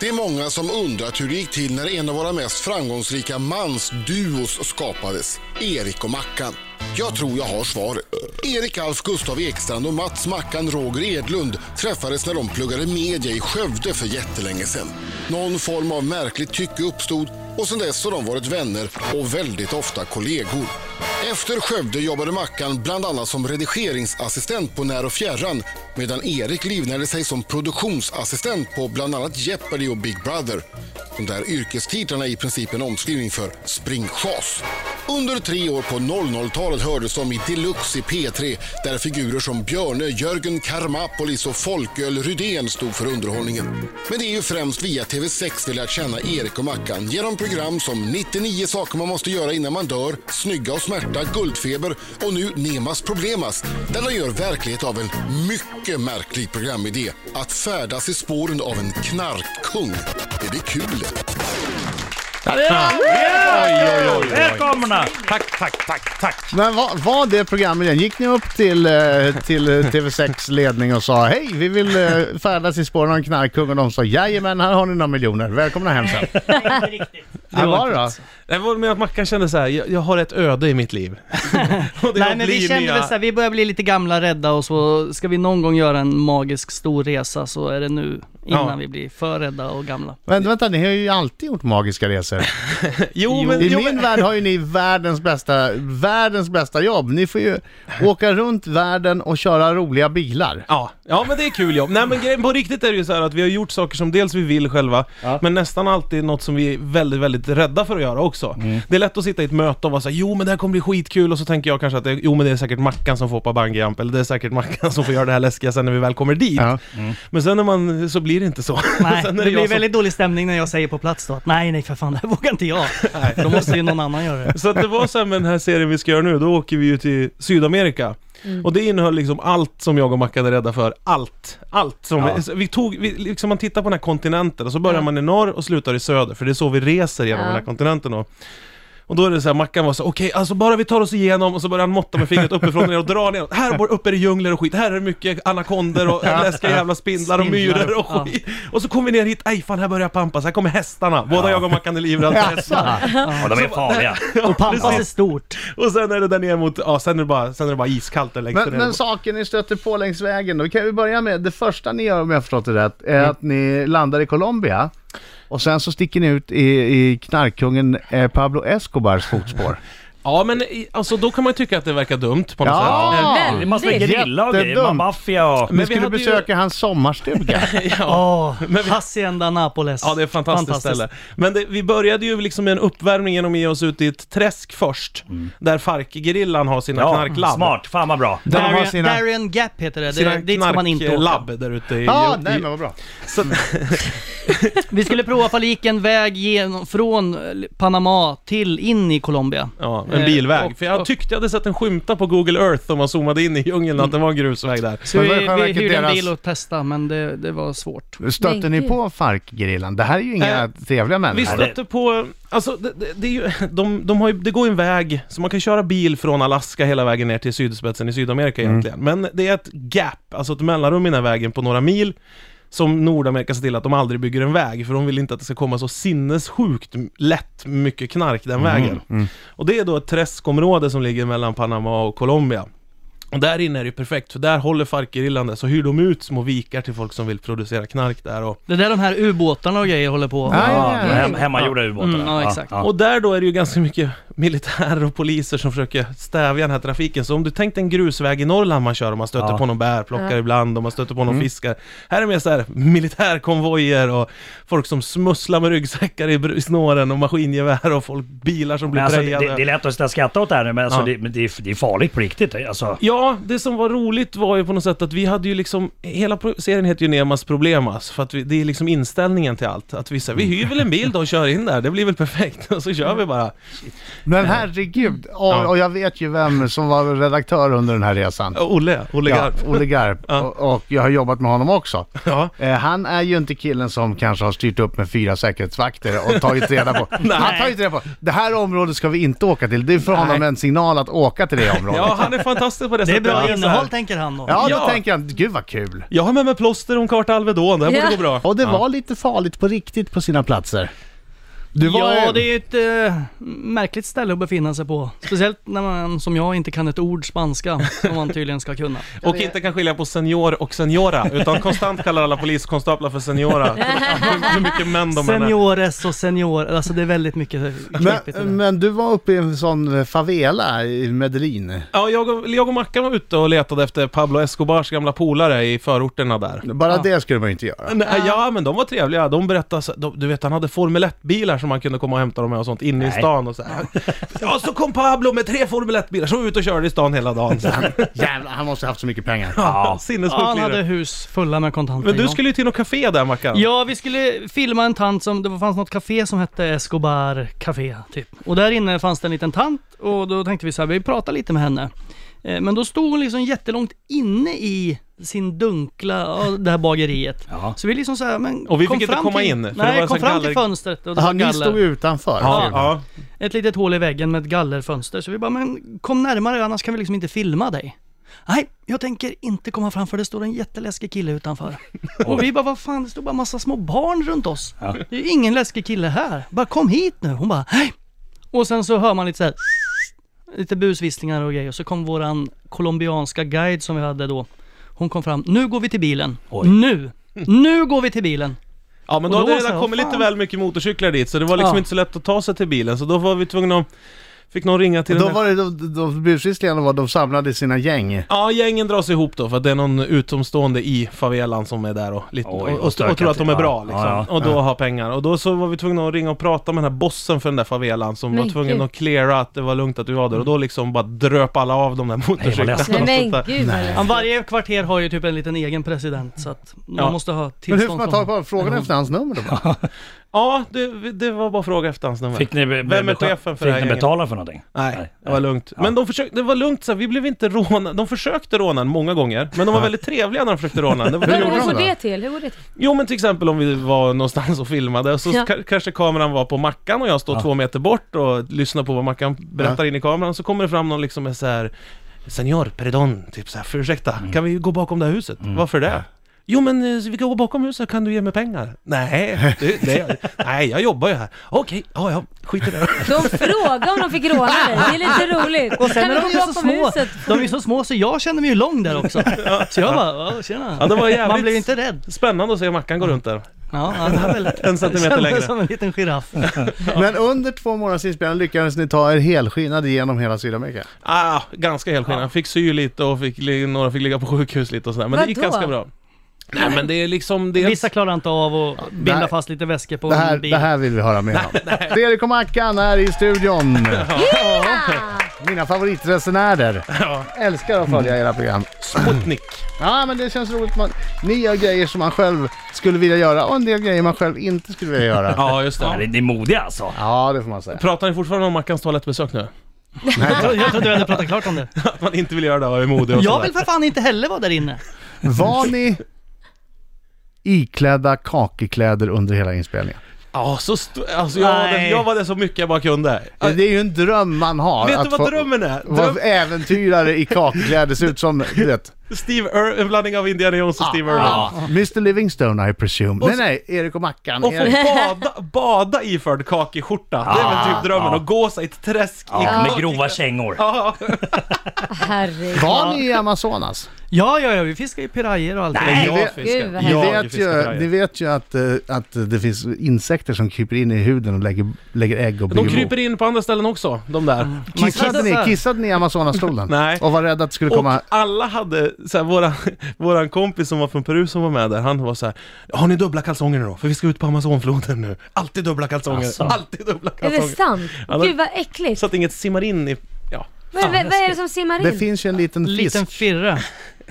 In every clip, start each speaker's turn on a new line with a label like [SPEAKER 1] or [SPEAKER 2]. [SPEAKER 1] Det är många som undrat hur det gick till när en av våra mest framgångsrika mansduos skapades, Erik och Mackan. Jag tror jag har svaret. Erik Alf Gustav Ekstrand och Mats Mackan Roger Edlund träffades när de pluggade media i Skövde för jättelänge sedan. Någon form av märkligt tycke uppstod och sedan dess har de varit vänner och väldigt ofta kollegor. Efter Skövde jobbade Mackan bland annat som redigeringsassistent på När och fjärran medan Erik livnärde sig som produktionsassistent på bland annat Jeopardy och Big Brother. De där yrkestitlarna är i princip en omskrivning för springchas. Under tre år på 00-talet hördes de i Deluxe i P3 där figurer som Björne, Jörgen Karmapolis och Folköl Rydén stod för underhållningen. Men det är ju främst via TV6 vi lärt känna Erik och Mackan genom program som 99 saker man måste göra innan man dör, Snygga och smärta, Guldfeber och nu Nemas Problemas där de gör verklighet av en mycket märklig programidé att färdas i spåren av en knarkkung. Det blir kul.
[SPEAKER 2] Ja, det är han!
[SPEAKER 3] Oj, oj, oj, oj.
[SPEAKER 2] Välkomna! Tack, tack, tack, tack.
[SPEAKER 3] Men vad var det programmet igen? Gick ni upp till, eh, till eh, TV6 ledning och sa hej, vi vill eh, färdas i spåren av en knarkkung och de sa jajamän, här har ni några miljoner, välkomna hem sen. Vad var det då?
[SPEAKER 4] Det var med att Mackan kände så här, jag, jag har ett öde i mitt liv. Och det
[SPEAKER 5] Nej men vi
[SPEAKER 4] blir
[SPEAKER 5] kände
[SPEAKER 4] nya-
[SPEAKER 5] väl såhär, vi börjar bli lite gamla, rädda och så ska vi någon gång göra en magisk stor resa så är det nu innan
[SPEAKER 4] Ja.
[SPEAKER 5] vi blir för rädda och gamla.
[SPEAKER 3] Vänta, vänta, ni har ju alltid gjort magiska resor.
[SPEAKER 4] Jo men,
[SPEAKER 3] I
[SPEAKER 4] jo,
[SPEAKER 3] min
[SPEAKER 4] men
[SPEAKER 3] värld har ju ni världens bästa, världens bästa jobb. Ni får ju åka runt världen och köra roliga bilar.
[SPEAKER 4] Ja, ja men det är kul jobb. Nej men grejen på riktigt är det ju så här att vi har gjort saker som dels vi vill själva, men nästan alltid något som vi är väldigt, väldigt rädda för att göra också.
[SPEAKER 5] Mm.
[SPEAKER 4] Det är lätt att sitta i ett möte och vara så här, jo men det här kommer bli skitkul och så tänker jag kanske att det, jo men det är säkert Mackan som får hoppa bungyjump eller det är säkert Mackan som får göra det här läskiga sen när vi väl kommer dit.
[SPEAKER 3] Ja.
[SPEAKER 4] Men sen när man, så blir det inte så.
[SPEAKER 5] Nej, det
[SPEAKER 4] sen är det,
[SPEAKER 5] blir
[SPEAKER 4] jag som
[SPEAKER 5] väldigt dålig stämning när jag säger på plats då att nej, nej för fan, det här vågar inte jag. Då måste ju någon annan göra det.
[SPEAKER 4] Så att det var så här med den här serien vi ska göra nu, då åker vi ju till Sydamerika. Och det innehöll liksom allt som jag och Mackan är rädda för. Allt! Allt! Som
[SPEAKER 3] Ja.
[SPEAKER 4] vi, vi tog, vi, liksom man tittar på den här kontinenten och så börjar man i norr och slutar i söder, för det är så vi reser genom
[SPEAKER 6] Ja.
[SPEAKER 4] den här kontinenten då. Och då är det så här, Mackan var så okej, alltså bara vi tar oss igenom och så börjar han måtta med fingret uppifrån och ner och dra ner. Här bor- uppe är det djungler och skit, här är det mycket anakonder och läskiga jävla spindlar och
[SPEAKER 5] Spindlar,
[SPEAKER 4] myror och
[SPEAKER 5] ja.
[SPEAKER 4] skit. Och så kommer vi ner hit, nej fan här börjar pampas, här kommer hästarna. Båda jag och Mackan är livrädda för hästarna.
[SPEAKER 2] Ja, de är farliga.
[SPEAKER 5] Och pampas är stort.
[SPEAKER 4] Och sen är det där ner mot, ja sen är det bara, sen är det bara iskallt där längst
[SPEAKER 3] Men,
[SPEAKER 4] ner.
[SPEAKER 3] men saker ni stöter på längs vägen då, kan vi börja med det första ni gör om jag har förstått det rätt, är att ni landar i Colombia och sen så sticker ni ut i, i knarkkungen eh, Pablo Escobars fotspår.
[SPEAKER 4] Ja men i- alltså då kan man ju tycka att det verkar dumt på något
[SPEAKER 3] Ja!
[SPEAKER 4] sätt.
[SPEAKER 6] Väldigt.
[SPEAKER 2] Det måste vara grilla och grejer,
[SPEAKER 3] Jättedumt.
[SPEAKER 2] maffia och...
[SPEAKER 3] Ni
[SPEAKER 4] vi
[SPEAKER 3] skulle
[SPEAKER 4] hade ju-
[SPEAKER 3] besöka hans sommarstuga.
[SPEAKER 4] Ja.
[SPEAKER 5] Åh, Hacienda Napoles.
[SPEAKER 4] Ja det är ett fantastiskt, ställe. Men det, vi började ju liksom med en uppvärmning genom att ge oss ut i ett träsk först. Där Farc-gerillan har sina
[SPEAKER 2] Ja,
[SPEAKER 4] knarklabb.
[SPEAKER 2] smart. Fan vad bra.
[SPEAKER 3] Där har
[SPEAKER 5] Darien,
[SPEAKER 3] sina-
[SPEAKER 5] Darien Gap heter det,
[SPEAKER 4] Sina
[SPEAKER 5] det dit ska man inte åka.
[SPEAKER 4] knarklabb där ute i...
[SPEAKER 3] Ja,
[SPEAKER 4] i-
[SPEAKER 3] nej men vad bra.
[SPEAKER 4] så,
[SPEAKER 5] Vi skulle prova ifall det gick en väg genom, från eh, Panama till in i Colombia.
[SPEAKER 4] ja, en
[SPEAKER 5] Eh,
[SPEAKER 4] bilväg.
[SPEAKER 5] och-
[SPEAKER 4] För jag
[SPEAKER 5] och-
[SPEAKER 4] tyckte jag hade sett en skymta på Google Earth om man zoomade in i djungeln att det var en grusväg där.
[SPEAKER 5] Så
[SPEAKER 3] Men
[SPEAKER 5] vi,
[SPEAKER 3] vad är i själva
[SPEAKER 5] vi
[SPEAKER 3] verket
[SPEAKER 5] hyrde
[SPEAKER 3] deras-
[SPEAKER 5] en bil och testade, men det, det var svårt.
[SPEAKER 3] Stötte
[SPEAKER 6] Men
[SPEAKER 3] ni
[SPEAKER 6] gud.
[SPEAKER 3] på Farc-gerillan? Det här är ju inga
[SPEAKER 4] Eh,
[SPEAKER 3] trevliga
[SPEAKER 4] Vi
[SPEAKER 3] människor.
[SPEAKER 4] stötte på, alltså det, det, det, är ju, de, de har ju, det går ju en väg, så man kan köra bil från Alaska hela vägen ner till sydspetsen i Sydamerika egentligen. Men det är ett gap, alltså ett mellanrum i den här vägen på några mil, som Nordamerika ser till att de aldrig bygger en väg, för de vill inte att det ska komma så sinnessjukt lätt mycket knark den vägen. Och det är då ett träskområde som ligger mellan Panama och Colombia. Och där inne är det ju perfekt, för där håller Farc-gerillan det, så hyr de ut små vikar till folk som vill producera knark där och
[SPEAKER 5] Det är där de här ubåtarna och grejer håller på.
[SPEAKER 3] Ja,
[SPEAKER 2] Ja,
[SPEAKER 3] ja, ja.
[SPEAKER 2] de hem, hemmagjorda ubåtarna.
[SPEAKER 5] Mm, ja, exakt.
[SPEAKER 4] Och där då är det ju ganska mycket militärer och poliser som försöker stävja den här trafiken. Så om du tänkte en grusväg i Norrland man kör, om man stöter
[SPEAKER 2] Ja. Mm.
[SPEAKER 4] på någon bärplockare ibland, om man stöter på någon fiskare. Här är mer så här militärkonvojer och folk som smusslar med ryggsäckar i br- i snåren och maskingevär och folk, bilar som blir
[SPEAKER 2] Men alltså, det,
[SPEAKER 4] prejade.
[SPEAKER 2] det är lätt att sitta och skratta åt det här nu, men, alltså,
[SPEAKER 4] Ja.
[SPEAKER 2] det, men det, är, det är farligt på riktigt. Alltså.
[SPEAKER 4] Ja, det som var roligt var ju på något sätt att vi hade ju liksom Hela pro- serien heter ju Nemas Problemas För att vi, det är liksom inställningen till allt Att vi säger, vi hyr väl en bil då och kör in där Det blir väl perfekt och så kör vi bara
[SPEAKER 3] Men herregud, och, och jag vet ju vem som var redaktör under den här resan.
[SPEAKER 4] Olle, Olle
[SPEAKER 3] Ja,
[SPEAKER 4] Garp
[SPEAKER 3] Olle Garp.
[SPEAKER 4] Ja.
[SPEAKER 3] Och, och jag har jobbat med honom också.
[SPEAKER 4] Ja.
[SPEAKER 3] Eh, han är ju inte killen som kanske har styrt upp med fyra säkerhetsvakter och tagit reda på... han tar ju inte reda på, det här området ska vi inte åka till. Det är för honom en signal att åka till det området.
[SPEAKER 4] Ja, han är fantastisk på det,
[SPEAKER 2] Det
[SPEAKER 4] Så
[SPEAKER 5] Det är
[SPEAKER 4] att
[SPEAKER 5] bra
[SPEAKER 4] så
[SPEAKER 5] innehåll
[SPEAKER 4] här.
[SPEAKER 5] tänker han då.
[SPEAKER 3] Ja, då
[SPEAKER 4] Ja.
[SPEAKER 3] tänker jag, gud vad kul.
[SPEAKER 4] Jag har med mig plåster och en karta Alvedon, det här
[SPEAKER 6] Ja.
[SPEAKER 4] borde gå bra.
[SPEAKER 3] Och det var lite farligt på riktigt på sina platser. Du var
[SPEAKER 5] ja,
[SPEAKER 3] ju-
[SPEAKER 5] det är ju ett eh, märkligt ställe att befinna sig på. Speciellt när man som jag inte kan ett ord spanska, som man tydligen ska kunna.
[SPEAKER 4] Och inte kan skilja på senior och seniora, utan konstant kallar alla poliskonstaplar för seniora. Hur- Hur mycket män de är.
[SPEAKER 5] Seniores och senior, alltså det är väldigt mycket knepigt i det.
[SPEAKER 3] men, men du var uppe i en sån eh, favela i Medellin.
[SPEAKER 4] Ja, jag och, jag och Mackan var ute och letade efter Pablo Escobars gamla polare i förorterna där.
[SPEAKER 3] Bara det skulle man ju inte göra.
[SPEAKER 4] Nej, ja, men de var trevliga. De berättade, så- de, du vet han hade Formel 1-bilar som man kunde komma och hämta dem med och sånt inne i
[SPEAKER 2] Nej.
[SPEAKER 4] stan och så här. Ja, så kom Pablo med tre Formel 1-bilar, så var vi ute och körde i stan hela dagen. Så här.
[SPEAKER 3] Jävlar, han måste ha haft så mycket pengar.
[SPEAKER 2] Ja.
[SPEAKER 4] Sinnessjukt
[SPEAKER 5] Ja, han
[SPEAKER 4] lirare.
[SPEAKER 5] hade hus fulla med kontanter.
[SPEAKER 4] Men du
[SPEAKER 5] ja.
[SPEAKER 4] skulle ju till något café där Mackan.
[SPEAKER 5] Ja, vi skulle filma en tant som, det fanns något café som hette Escobar Café, typ. Och där inne fanns det en liten tant och då tänkte vi så här, vi pratar lite med henne. Eh, Men då stod hon liksom jättelångt inne i sin dunkla, ja, det här bageriet.
[SPEAKER 2] Ja.
[SPEAKER 5] Så vi liksom så här, men
[SPEAKER 4] Och vi
[SPEAKER 5] kom
[SPEAKER 4] fick inte
[SPEAKER 5] fram
[SPEAKER 4] komma
[SPEAKER 5] till,
[SPEAKER 4] in, för det var
[SPEAKER 5] Nej,
[SPEAKER 4] en
[SPEAKER 5] kom
[SPEAKER 4] sån
[SPEAKER 5] fram till
[SPEAKER 4] galler-
[SPEAKER 5] fönstret och det
[SPEAKER 3] Ja,
[SPEAKER 5] var
[SPEAKER 3] ni
[SPEAKER 5] galler.
[SPEAKER 3] stod ju utanför.
[SPEAKER 4] ja, ja.
[SPEAKER 5] Ett litet hål i väggen med ett gallerfönster. Så vi bara, men kom närmare annars kan vi liksom inte filma dig. Nej, jag tänker inte komma fram för det står en jätteläskig kille utanför. Och vi bara, vad fan, det stod bara massa små barn runt oss. Det är ingen läskig kille här. Bara kom hit nu. Hon bara, hej. Och sen så hör man lite så här, lite busvisslingar och grejer. Och så kom våran colombianska guide som vi hade då. Hon kom fram, nu går vi till bilen.
[SPEAKER 2] Oj.
[SPEAKER 5] Nu! Nu går vi till bilen.
[SPEAKER 4] Ja men då,
[SPEAKER 5] Och då
[SPEAKER 4] hade det
[SPEAKER 5] så här,
[SPEAKER 4] redan kommit
[SPEAKER 5] fan.
[SPEAKER 4] lite väl mycket motorcyklar dit så det var liksom
[SPEAKER 5] Ja.
[SPEAKER 4] inte så lätt att ta sig till bilen så då var vi tvungna att... Fick någon ringa till
[SPEAKER 3] Då
[SPEAKER 4] den här...
[SPEAKER 3] var det, då, då busvisslingarna var, de samlade sina gäng.
[SPEAKER 4] Ja, gängen dras ihop då för att det är någon utomstående i favelan som är där och, lite,
[SPEAKER 2] Oj,
[SPEAKER 4] och,
[SPEAKER 2] och
[SPEAKER 4] och,
[SPEAKER 2] stökar
[SPEAKER 4] och tror att de är
[SPEAKER 2] till.
[SPEAKER 4] bra
[SPEAKER 2] Ja,
[SPEAKER 4] liksom.
[SPEAKER 2] ja,
[SPEAKER 4] och då har pengar. Och då så var vi tvungna att ringa och prata med den här bossen för den där favelan som
[SPEAKER 6] Men
[SPEAKER 4] var tvungen
[SPEAKER 6] gud.
[SPEAKER 4] att cleara att det var lugnt att vi var där. Och då liksom bara dröp alla av de där motorcyklarna.
[SPEAKER 2] läskigt.
[SPEAKER 4] och
[SPEAKER 6] Nej
[SPEAKER 4] sånt
[SPEAKER 6] men
[SPEAKER 4] där.
[SPEAKER 6] gud vad
[SPEAKER 5] Ja,
[SPEAKER 6] läskigt.
[SPEAKER 5] varje kvarter har ju typ en liten egen president så att man
[SPEAKER 4] Ja.
[SPEAKER 5] måste ha
[SPEAKER 3] Men
[SPEAKER 5] tillstånd
[SPEAKER 3] hur får man
[SPEAKER 5] från
[SPEAKER 3] tag
[SPEAKER 5] honom.
[SPEAKER 3] på honom? Frågan efter hans nummer då bara.
[SPEAKER 4] Ja, det, det var bara fråga efter hans nummer.
[SPEAKER 2] Fick ni, be-
[SPEAKER 4] Vem är
[SPEAKER 2] beta-
[SPEAKER 4] chefen för det
[SPEAKER 2] fick
[SPEAKER 4] här
[SPEAKER 2] ni
[SPEAKER 4] gänget?
[SPEAKER 2] betala för någonting?
[SPEAKER 4] Nej,
[SPEAKER 2] Nej,
[SPEAKER 4] det var
[SPEAKER 2] nej.
[SPEAKER 4] lugnt. Men de försökte, det var lugnt så här, vi blev inte rånade. De försökte råna en många gånger, men de var väldigt trevliga när de försökte råna en. Det var-
[SPEAKER 6] Hur,
[SPEAKER 3] gjorde
[SPEAKER 6] hur
[SPEAKER 3] de
[SPEAKER 6] går
[SPEAKER 3] då?
[SPEAKER 6] det till? Hur går det till?
[SPEAKER 4] Jo men till exempel om vi var någonstans och filmade så
[SPEAKER 6] Ja.
[SPEAKER 4] ka- kanske kameran var på Mackan och jag står två meter bort och lyssnar på vad Mackan berättar in i kameran så kommer det fram någon liksom med så här Senor, perdon, typ så här, för ursäkta, kan vi gå bakom det här huset? Varför det? Jo men eh, vi kan gå bakom huset, kan du ge mig pengar? Nej, det, det, nej jag jobbar ju här. Okej, ja ja, skit i det
[SPEAKER 6] De frågade om de fick råna dig. Det är lite roligt.
[SPEAKER 5] Och sen
[SPEAKER 6] Kan
[SPEAKER 5] är
[SPEAKER 6] vi
[SPEAKER 5] de
[SPEAKER 6] gå
[SPEAKER 5] ju så
[SPEAKER 6] bakom
[SPEAKER 5] små,
[SPEAKER 6] huset?
[SPEAKER 5] de är ju så små så jag känner mig ju lång där också. Så jag bara, "Åh, tjena.
[SPEAKER 4] Ja, det var jävligt-
[SPEAKER 5] Man blir ju inte rädd.
[SPEAKER 4] Spännande att se Mackan gå runt där.
[SPEAKER 5] Ja, ja, det var väl
[SPEAKER 4] En centimeter
[SPEAKER 5] som,
[SPEAKER 4] längre.
[SPEAKER 5] Som en liten giraff.
[SPEAKER 3] Men under två månaders inspelning lyckades ni ta er helskinnade genom hela Sydamerika.
[SPEAKER 4] Ah, ganska helskinnad. Fick sy lite och fick, li- några fick ligga på sjukhus lite och sådär. Men det gick
[SPEAKER 6] Vadå?
[SPEAKER 4] ganska bra. Nej men det är liksom... Det är...
[SPEAKER 5] Vissa klarar inte av att binda
[SPEAKER 3] här-
[SPEAKER 5] fast lite väskor på
[SPEAKER 3] Det här,
[SPEAKER 5] en bil.
[SPEAKER 3] det här vill vi höra mer om. Fredrik och Mackan är i studion. Mina favoritresenärer. Älskar att följa era program.
[SPEAKER 4] Sputnik.
[SPEAKER 3] Ja, men det känns roligt. Man, ni gör grejer som man själv skulle vilja göra och en del grejer man själv inte skulle vilja göra.
[SPEAKER 4] Ja, just
[SPEAKER 2] Ja.
[SPEAKER 4] det.
[SPEAKER 2] Ni är modiga alltså.
[SPEAKER 3] Ja, det får man säga.
[SPEAKER 4] Pratar ni fortfarande om Mackans toalettbesök nu?
[SPEAKER 5] Jag tror- Jag trodde vi hade pratat klart om det.
[SPEAKER 4] Att man inte vill göra det och är modig och
[SPEAKER 5] Jag
[SPEAKER 4] sådär.
[SPEAKER 5] vill för fan inte heller vara där inne.
[SPEAKER 3] Var ni iklädda kakekläder under hela inspelningen?
[SPEAKER 4] Ja, så st- alltså, jag, var
[SPEAKER 5] Nej.
[SPEAKER 4] det, jag var det så mycket jag bara kunde.
[SPEAKER 3] Det är ju en dröm man har.
[SPEAKER 4] Vet du
[SPEAKER 3] att
[SPEAKER 4] vad
[SPEAKER 3] få-
[SPEAKER 4] drömmen är?
[SPEAKER 3] Vad
[SPEAKER 4] Dröm,
[SPEAKER 3] äventyrare i kakekläder ser ut som, du vet.
[SPEAKER 4] Steve Irwin, en blandning av Indiana Jones och Steve Irwin.
[SPEAKER 3] Mr Livingstone I presume.
[SPEAKER 4] Och
[SPEAKER 3] Nej,
[SPEAKER 4] så-
[SPEAKER 3] nej, Erik och Mackan.
[SPEAKER 4] Och få
[SPEAKER 3] Erik.
[SPEAKER 4] bada, bada iförd kakeskjorta. Det är väl typ drömmen. Och gå sig i ett träsk i
[SPEAKER 2] Ja, med
[SPEAKER 4] kak-
[SPEAKER 2] grova kängor.
[SPEAKER 4] Ja.
[SPEAKER 6] Herregud.
[SPEAKER 3] Var ni i Amazonas?
[SPEAKER 5] Ja, ja, ja, vi fiskar ju pirajer och allt.
[SPEAKER 2] Nej.
[SPEAKER 4] Nej,
[SPEAKER 3] Gud,
[SPEAKER 4] jag fiskar.
[SPEAKER 6] vad
[SPEAKER 4] Jag
[SPEAKER 6] hemskt.
[SPEAKER 3] Ni
[SPEAKER 4] fiskar
[SPEAKER 3] vet, ju,
[SPEAKER 4] pirajer.
[SPEAKER 3] ni vet ju att, eh, att det finns insekter som kryper in i huden och lägger, lägger ägg och
[SPEAKER 4] De
[SPEAKER 3] bygger bo.
[SPEAKER 4] kryper in på andra ställen också, de där.
[SPEAKER 5] Man
[SPEAKER 3] Kissade
[SPEAKER 5] kissar.
[SPEAKER 3] ni, kissade ni i Amazonasfloden?
[SPEAKER 4] Nej.
[SPEAKER 3] Och var rädda att det skulle
[SPEAKER 4] Och
[SPEAKER 3] komma...
[SPEAKER 4] alla hade, så här, våran, våran kompis som var från Peru som var med där, han var så här, Har ni dubbla kalsonger nu då? För vi ska ut på Amazonfloden nu. Alltid dubbla kalsonger,
[SPEAKER 2] Asså.
[SPEAKER 4] alltid dubbla
[SPEAKER 6] Är det
[SPEAKER 4] kalsonger.
[SPEAKER 6] sant?
[SPEAKER 4] Ja, men-
[SPEAKER 6] Gud vad äckligt.
[SPEAKER 4] Så att inget simmar in i, ja.
[SPEAKER 6] Men, vad, vad är det som simmar
[SPEAKER 3] Det
[SPEAKER 6] in?
[SPEAKER 3] finns ju en liten fisk
[SPEAKER 5] Liten firre.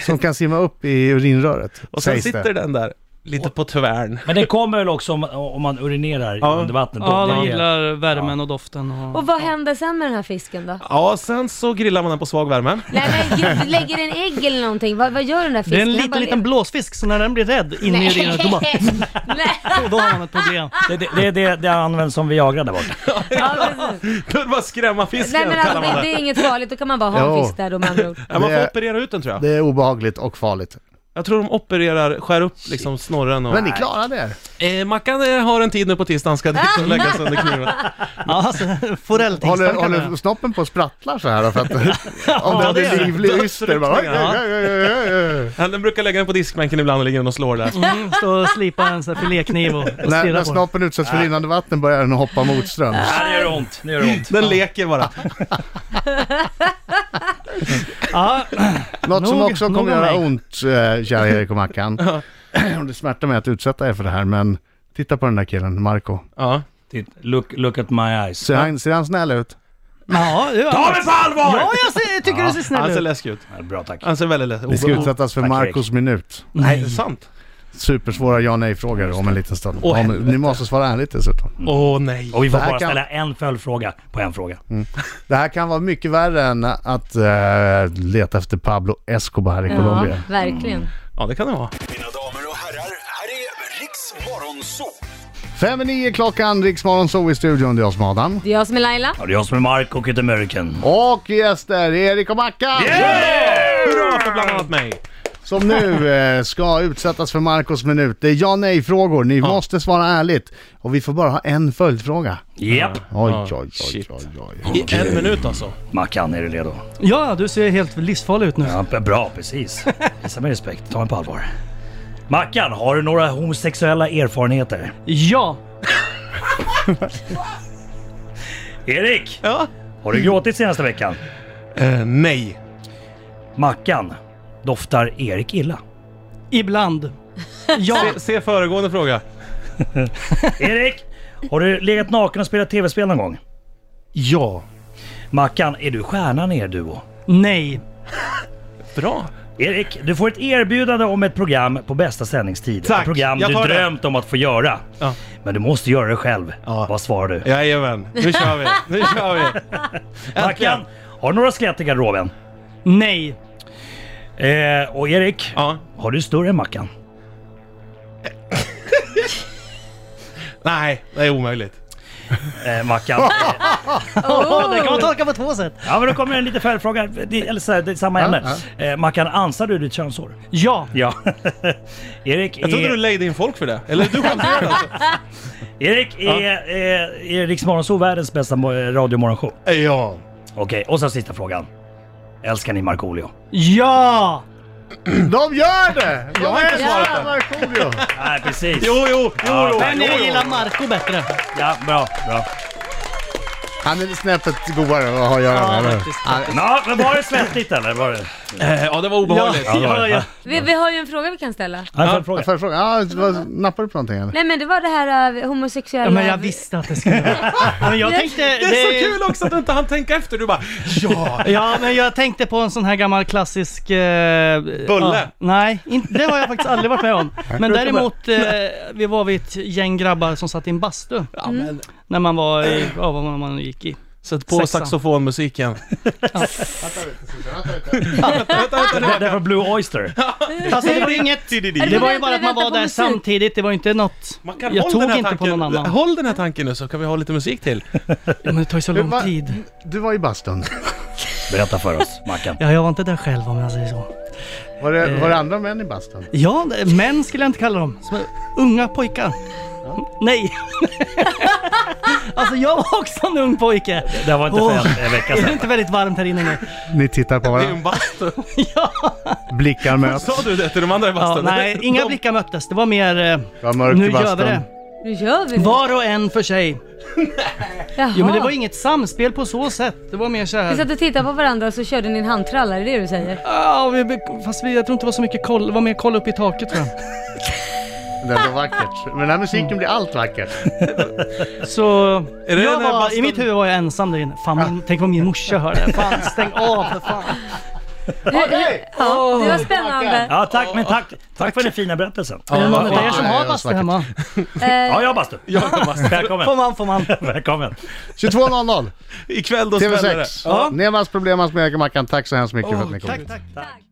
[SPEAKER 3] som kan simma upp i urinröret,
[SPEAKER 4] Och sen
[SPEAKER 3] sägs
[SPEAKER 4] sitter
[SPEAKER 3] det.
[SPEAKER 4] den där lite på tvärn.
[SPEAKER 2] Men det kommer väl också om, om man urinerar
[SPEAKER 4] Ja.
[SPEAKER 2] under vattnet?
[SPEAKER 5] Ja,
[SPEAKER 2] Det är-
[SPEAKER 5] de gillar värmen och doften och...
[SPEAKER 6] Och vad händer sen med den här fisken då?
[SPEAKER 4] Ja, sen så grillar man den på svag värme.
[SPEAKER 6] Nej men gud, lägger den ägg eller någonting? Vad, vad gör den där fisken?
[SPEAKER 5] det är en
[SPEAKER 6] Den
[SPEAKER 5] liten,
[SPEAKER 6] bara
[SPEAKER 5] liten
[SPEAKER 6] lever.
[SPEAKER 5] blåsfisk, så när den blir rädd in i
[SPEAKER 6] Nej.
[SPEAKER 5] den då bara-
[SPEAKER 6] Nej.
[SPEAKER 5] då har man ett problem.
[SPEAKER 2] Det, det, det, det, det används som Viagra där borta.
[SPEAKER 6] Ja, precis.
[SPEAKER 4] Då bara skrämma fisken
[SPEAKER 6] Nej men
[SPEAKER 4] kallar
[SPEAKER 6] alltså,
[SPEAKER 4] man det.
[SPEAKER 6] det, det är inget farligt, då kan man bara ha en
[SPEAKER 3] Jo.
[SPEAKER 6] fisk där då med andra ord.
[SPEAKER 4] Ja, man får
[SPEAKER 3] Det-
[SPEAKER 4] operera ut den tror jag.
[SPEAKER 3] Det är obehagligt och farligt.
[SPEAKER 4] Jag tror de opererar, skär upp liksom snorren och...
[SPEAKER 3] Men ni klarade er.
[SPEAKER 4] Eh, Mackan eh, har en tid nu på tisdagen, ska dit och lägga sönder kniven.
[SPEAKER 5] Ja, alltså,
[SPEAKER 3] Håller,
[SPEAKER 5] forelltingstankarna.
[SPEAKER 3] håller snoppen på och sprattlar så här då? För att, om
[SPEAKER 5] Ja,
[SPEAKER 3] den
[SPEAKER 5] det är
[SPEAKER 3] är
[SPEAKER 5] det.
[SPEAKER 3] livlig yster bara... Oj,
[SPEAKER 4] Dödsryckningar,
[SPEAKER 3] oj, oj, oj, oj, oj.
[SPEAKER 4] Han brukar lägga den på diskbänken ibland och ligger den och slår där.
[SPEAKER 5] Mm, stå och slipa en sån här filékniv och, och
[SPEAKER 3] När,
[SPEAKER 5] stirra
[SPEAKER 3] när
[SPEAKER 5] på den.
[SPEAKER 3] snoppen utsätts för rinnande vatten börjar den hoppa motströms.
[SPEAKER 2] Ja, det gör ont. Det gör ont.
[SPEAKER 4] Den leker bara.
[SPEAKER 5] Ja,
[SPEAKER 3] Något som
[SPEAKER 5] Nog-
[SPEAKER 3] också
[SPEAKER 5] nog
[SPEAKER 3] kommer
[SPEAKER 5] om
[SPEAKER 3] göra
[SPEAKER 5] mig.
[SPEAKER 3] ont, eh, kära Erik och Mackan. Och det smärtar mig att utsätta er för det här, men titta på den där killen, Marco.
[SPEAKER 4] Ja.
[SPEAKER 2] Titt, Look, look at my eyes.
[SPEAKER 3] Ser han, ser han snäll ut?
[SPEAKER 5] ja, ja.
[SPEAKER 2] Ta mig på allvar!
[SPEAKER 5] ja jag ser, jag tycker du
[SPEAKER 4] Han
[SPEAKER 5] ser
[SPEAKER 4] ser
[SPEAKER 5] snäll ut.
[SPEAKER 4] läskig ut.
[SPEAKER 2] Ja, Bra tack.
[SPEAKER 4] Han ser väldigt läskig
[SPEAKER 3] Vi
[SPEAKER 4] ut.
[SPEAKER 3] ska utsättas för
[SPEAKER 2] Tack,
[SPEAKER 3] Marcos minut.
[SPEAKER 4] Nej, det är sant.
[SPEAKER 3] Supersvåra ja nej-frågor om en liten stund.
[SPEAKER 4] Åh,
[SPEAKER 3] om,
[SPEAKER 4] helvete.
[SPEAKER 3] ni måste svara ärligt dessutom.
[SPEAKER 4] Åh nej.
[SPEAKER 2] Och vi får
[SPEAKER 3] Det här
[SPEAKER 2] bara
[SPEAKER 3] kan-
[SPEAKER 2] ställa en följdfråga på en fråga.
[SPEAKER 3] Det här kan vara mycket värre än att eh, leta efter Pablo Escobar i
[SPEAKER 6] Ja,
[SPEAKER 3] Colombia.
[SPEAKER 6] verkligen.
[SPEAKER 4] Ja, det kan det vara.
[SPEAKER 7] Mina damer och herrar, här är Riks Morgonzoo!
[SPEAKER 3] Fem i nio klockan, Riksmorgon så i studion, det är jag som är Adam.
[SPEAKER 6] Det är jag som är Laila.
[SPEAKER 2] Ja, det är jag som är Mark och ett American.
[SPEAKER 3] Och gäster, Erik och Mackan!
[SPEAKER 4] Hurra för bland annat mig.
[SPEAKER 3] Som nu eh, ska utsättas för Marcos minut. Det är ja nej-frågor, ni måste svara ärligt. Och vi får bara ha en följdfråga.
[SPEAKER 2] Japp!
[SPEAKER 3] Oj,
[SPEAKER 4] Ja,
[SPEAKER 3] oj, oj, oj,
[SPEAKER 4] shit.
[SPEAKER 3] oj, oj.
[SPEAKER 4] I en minut alltså.
[SPEAKER 2] Mackan, är du redo?
[SPEAKER 5] Ja, du ser helt livsfarlig ut nu.
[SPEAKER 2] Ja, b- bra, precis. Visa mig respekt. Ta mig på allvar. Mackan, har du några homosexuella erfarenheter?
[SPEAKER 5] Ja,
[SPEAKER 2] Erik,
[SPEAKER 4] Ja.
[SPEAKER 2] har du gråtit senaste veckan?
[SPEAKER 4] Eh, nej.
[SPEAKER 2] Mackan, doftar Erik illa?
[SPEAKER 5] ibland. Ja,
[SPEAKER 4] Se, se föregående fråga.
[SPEAKER 2] Erik, har du legat naken och spelat tv-spel någon gång?
[SPEAKER 4] Ja.
[SPEAKER 2] Mackan, är du stjärnan i er duo?
[SPEAKER 5] nej.
[SPEAKER 4] Bra.
[SPEAKER 2] Erik, du får ett erbjudande om ett program på bästa sändningstid.
[SPEAKER 4] Tack,
[SPEAKER 2] ett program
[SPEAKER 4] jag
[SPEAKER 2] du
[SPEAKER 4] tar det.
[SPEAKER 2] drömt om att få göra.
[SPEAKER 4] Ja.
[SPEAKER 2] Men du måste göra det själv.
[SPEAKER 4] Ja.
[SPEAKER 2] Vad svarar du?
[SPEAKER 4] Jajamän. Nu kör vi. Nu kör vi.
[SPEAKER 2] Mackan,
[SPEAKER 4] Äntligen.
[SPEAKER 2] har du några skelett i garderoben?
[SPEAKER 5] Nej.
[SPEAKER 2] Eh, och Erik,
[SPEAKER 4] Ja.
[SPEAKER 2] har du större än Mackan?
[SPEAKER 4] Nej, det är omöjligt.
[SPEAKER 2] Eh, mackan.
[SPEAKER 5] Det kan man tolka på två sätt.
[SPEAKER 2] ja men då kommer en liten följdfråga, Det- eller så här, det är samma ämne. Eh, mackan, ansar du ditt könshår?
[SPEAKER 5] Ja,
[SPEAKER 2] Ja. Erik,
[SPEAKER 4] Jag trodde
[SPEAKER 2] är-
[SPEAKER 4] du lejde in folk för det. Eller du skämtade alltså.
[SPEAKER 2] Erik är, är, är Rix Morgonzoo världens bästa mo- radiomorgonshow.
[SPEAKER 4] Ja.
[SPEAKER 2] Okej, och så sista frågan. Älskar ni Markoolio?
[SPEAKER 5] ja.
[SPEAKER 3] De gör det! De
[SPEAKER 4] har inte svarat
[SPEAKER 3] älskar
[SPEAKER 4] än.
[SPEAKER 3] Markoolio!
[SPEAKER 2] Nej precis.
[SPEAKER 4] Jo, jo, jo, jo.
[SPEAKER 5] Men jag gillar Marco bättre.
[SPEAKER 2] Ja, bra, bra.
[SPEAKER 3] Han är snäppet godare att ha att göra med. eller?
[SPEAKER 5] faktiskt,
[SPEAKER 3] Han-
[SPEAKER 2] Ja, men var det svettigt eller? Var det?
[SPEAKER 4] Eh, Ja, det var
[SPEAKER 5] Ja,
[SPEAKER 4] obehagligt.
[SPEAKER 5] ja, ja.
[SPEAKER 6] Vi, vi har ju en fråga vi kan ställa.
[SPEAKER 2] Ja, en följdfråga.
[SPEAKER 3] Får jag fråga? Ja, vad- nappar du på någonting eller?
[SPEAKER 6] Nej men det var det här eh, homosexuella...
[SPEAKER 5] Ja, men jag visste att det skulle vara. Ja, men jag tänkte...
[SPEAKER 4] Det är så kul också att du inte hann tänka efter. Du bara ja.
[SPEAKER 5] Ja, men jag tänkte på en sån här gammal klassisk... Eh,
[SPEAKER 4] Bulle.
[SPEAKER 5] ja, nej, in, det har jag faktiskt aldrig varit med om. Men däremot, eh, vi var vi ett gäng grabbar som satt i en bastu
[SPEAKER 4] ja men.
[SPEAKER 5] när man var i, ja, vad man, man gick i.
[SPEAKER 4] Sätt på
[SPEAKER 5] Sexan.
[SPEAKER 4] saxofonmusiken.
[SPEAKER 2] Det där- det där var Blue Oyster.
[SPEAKER 5] Alltså det var inget... Det var ju bara att man var där samtidigt, det var inte något...
[SPEAKER 4] Man kan
[SPEAKER 5] Jag
[SPEAKER 4] håll
[SPEAKER 5] tog
[SPEAKER 4] den här
[SPEAKER 5] inte på
[SPEAKER 4] tanken.
[SPEAKER 5] någon annan.
[SPEAKER 4] Håll den här tanken nu så kan vi ha lite musik till.
[SPEAKER 5] Men det tar ju så
[SPEAKER 3] Va-
[SPEAKER 5] lång tid.
[SPEAKER 3] Du var i bastun.
[SPEAKER 2] Berätta för oss, Mackan.
[SPEAKER 5] Ja, jag var inte där själv om jag säger så.
[SPEAKER 3] Var det, var det andra män i bastun?
[SPEAKER 5] Ja, det- män skulle jag inte kalla dem. Som är unga pojkar. Nej. alltså jag var också en ung pojke.
[SPEAKER 2] Det här var inte för en, en vecka
[SPEAKER 5] Är det
[SPEAKER 2] sedan.
[SPEAKER 5] inte väldigt varmt här inne nu?
[SPEAKER 3] Ni tittar på
[SPEAKER 4] Det är ju
[SPEAKER 3] varandra,
[SPEAKER 4] en bastu.
[SPEAKER 3] blickar möts.
[SPEAKER 4] Sa du det till de andra i
[SPEAKER 5] Ja,
[SPEAKER 4] bastun?
[SPEAKER 5] nej, inga
[SPEAKER 4] De-
[SPEAKER 5] blickar möttes. Det var mer... eh,
[SPEAKER 3] Det var mörkt
[SPEAKER 5] Nu
[SPEAKER 3] i
[SPEAKER 5] gör vi
[SPEAKER 3] bastun.
[SPEAKER 5] det.
[SPEAKER 6] Nu gör vi det.
[SPEAKER 5] Var och en för sig.
[SPEAKER 6] Jaha.
[SPEAKER 5] Jo men det var inget samspel på så sätt. Det var mer så
[SPEAKER 6] Vi
[SPEAKER 5] här...
[SPEAKER 6] Ah. satt och tittade på varandra och så körde ni en handtrallare, är det det du säger?
[SPEAKER 5] Ja, Ah, vi, fast vi, jag tror inte det var så mycket koll. Det var mer koll upp i taket tror jag.
[SPEAKER 3] Det var vackert. Men den här musiken blir allt vackert.
[SPEAKER 5] Så...
[SPEAKER 4] Är det
[SPEAKER 5] jag
[SPEAKER 4] den här
[SPEAKER 5] var, I
[SPEAKER 4] bastun-
[SPEAKER 5] mitt huvud var jag ensam där inne. Fan, min, tänk vad min morsa hör det. Fan, stäng av för fan.
[SPEAKER 6] Ja, det var spännande.
[SPEAKER 2] Ja, tack, men tack, tack för den fina berättelsen.
[SPEAKER 5] Är det någon av
[SPEAKER 3] fan.
[SPEAKER 5] er som
[SPEAKER 3] Nej, det
[SPEAKER 5] har
[SPEAKER 3] var
[SPEAKER 5] bastu
[SPEAKER 3] vackert.
[SPEAKER 5] hemma?
[SPEAKER 6] Eh,
[SPEAKER 2] Ja, jag bastu. Välkommen.
[SPEAKER 5] Får man, får man.
[SPEAKER 2] Välkommen.
[SPEAKER 3] 22.00,
[SPEAKER 4] Ikväll då smäller det.
[SPEAKER 3] TV6. Nemans problem, hans med Mackan. Tack så hemskt mycket för att ni kom.
[SPEAKER 5] Tack, tack.
[SPEAKER 6] tack.